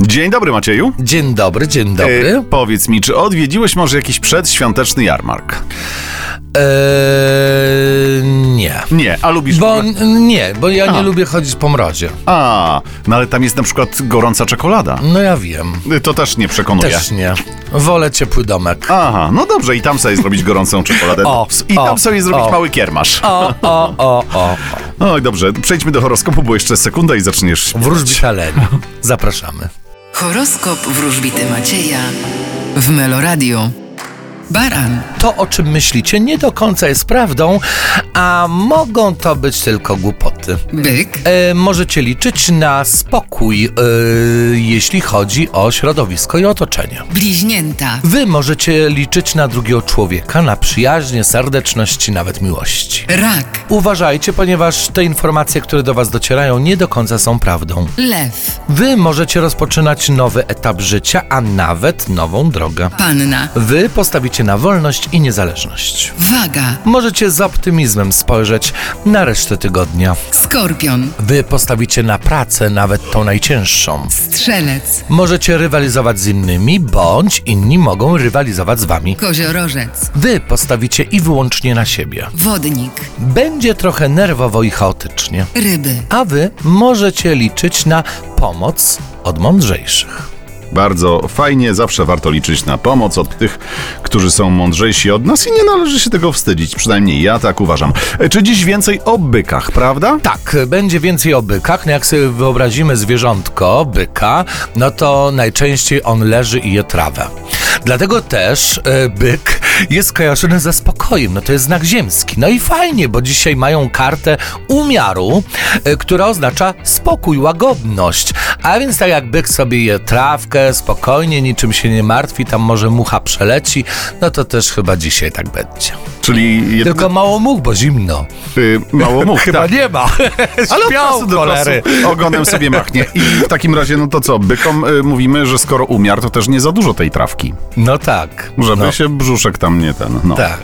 Dzień dobry, Macieju. Dzień dobry, dzień E, dobry. powiedz mi, czy odwiedziłeś może jakiś przedświąteczny jarmark? Eee, nie. Nie, a lubisz... w Bo ogóle- n- nie, bo ja nie lubię chodzić po mrozie. A, no ale tam jest na przykład gorąca czekolada. No ja wiem. E, To też nie przekonuje. Też nie. Wolę ciepły domek. Aha, no dobrze, i tam sobie zrobić gorącą czekoladę. O, I tam o, sobie zrobić o. mały kiermasz. O, o, o, o. Oj, dobrze, przejdźmy do horoskopu, bo jeszcze sekunda i zaczniesz. Wróżbitaleni. Zapraszamy. Horoskop wróżbity Macieja w Meloradio. Baran, To, o czym myślicie, nie do końca jest prawdą, a mogą to być tylko głupoty. byk, E, możecie liczyć na spokój, e, jeśli chodzi o środowisko i otoczenie. bliźnięta, Wy możecie liczyć na drugiego człowieka, na przyjaźnie, serdeczność, nawet miłości. rak, Uważajcie, ponieważ te informacje, które do Was docierają, nie do końca są prawdą. lew, Wy możecie rozpoczynać nowy etap życia, a nawet nową drogę. panna, Wy postawicie na wolność i niezależność. waga, Możecie z optymizmem spojrzeć na resztę tygodnia. skorpion, Wy postawicie na pracę, nawet tą najcięższą. strzelec, Możecie rywalizować z innymi, bądź inni mogą rywalizować z Wami. koziorożec, Wy postawicie i wyłącznie na siebie. wodnik, Będzie trochę nerwowo i chaotycznie, ryby. a wy możecie liczyć na pomoc od mądrzejszych. Bardzo fajnie, zawsze warto liczyć na pomoc od tych, którzy są mądrzejsi od nas i nie należy się tego wstydzić, przynajmniej ja tak uważam. E, Czy dziś więcej o bykach, prawda? Tak, będzie więcej o bykach. No jak sobie wyobrazimy zwierzątko, byka, no to najczęściej on leży i je trawę. Dlatego też e, byk jest kojarzony ze spokojem, no to jest znak ziemski. No i fajnie, bo dzisiaj mają kartę umiaru, e, która oznacza spokój, łagodność. A więc tak jak byk sobie je trawkę, spokojnie, niczym się nie martwi, tam może mucha przeleci, no to też chyba dzisiaj tak będzie. Czyli jed... Tylko mało much, bo zimno. y, mało mów. Chyba tak. nie ma. Ale od Śpią, czasu do cholery. czasu ogonem sobie machnie. I w takim razie, no to co, bykom y, mówimy, że skoro umiar, to też nie za dużo tej trawki. No tak. Żeby no, się brzuszek tam nie ten, no. Tak.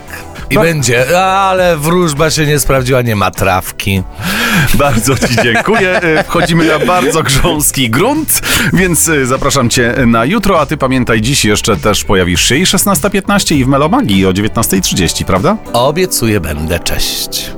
I będzie, ale wróżba się nie sprawdziła, nie ma trawki. Bardzo Ci dziękuję. Y, Wchodzimy na bardzo grząski grunt, więc y, zapraszam Cię na jutro, a Ty pamiętaj, dziś jeszcze też pojawisz się i 16.15 i w Melomagii o 19.30, prawda? Obiecuję, będę. Cześć.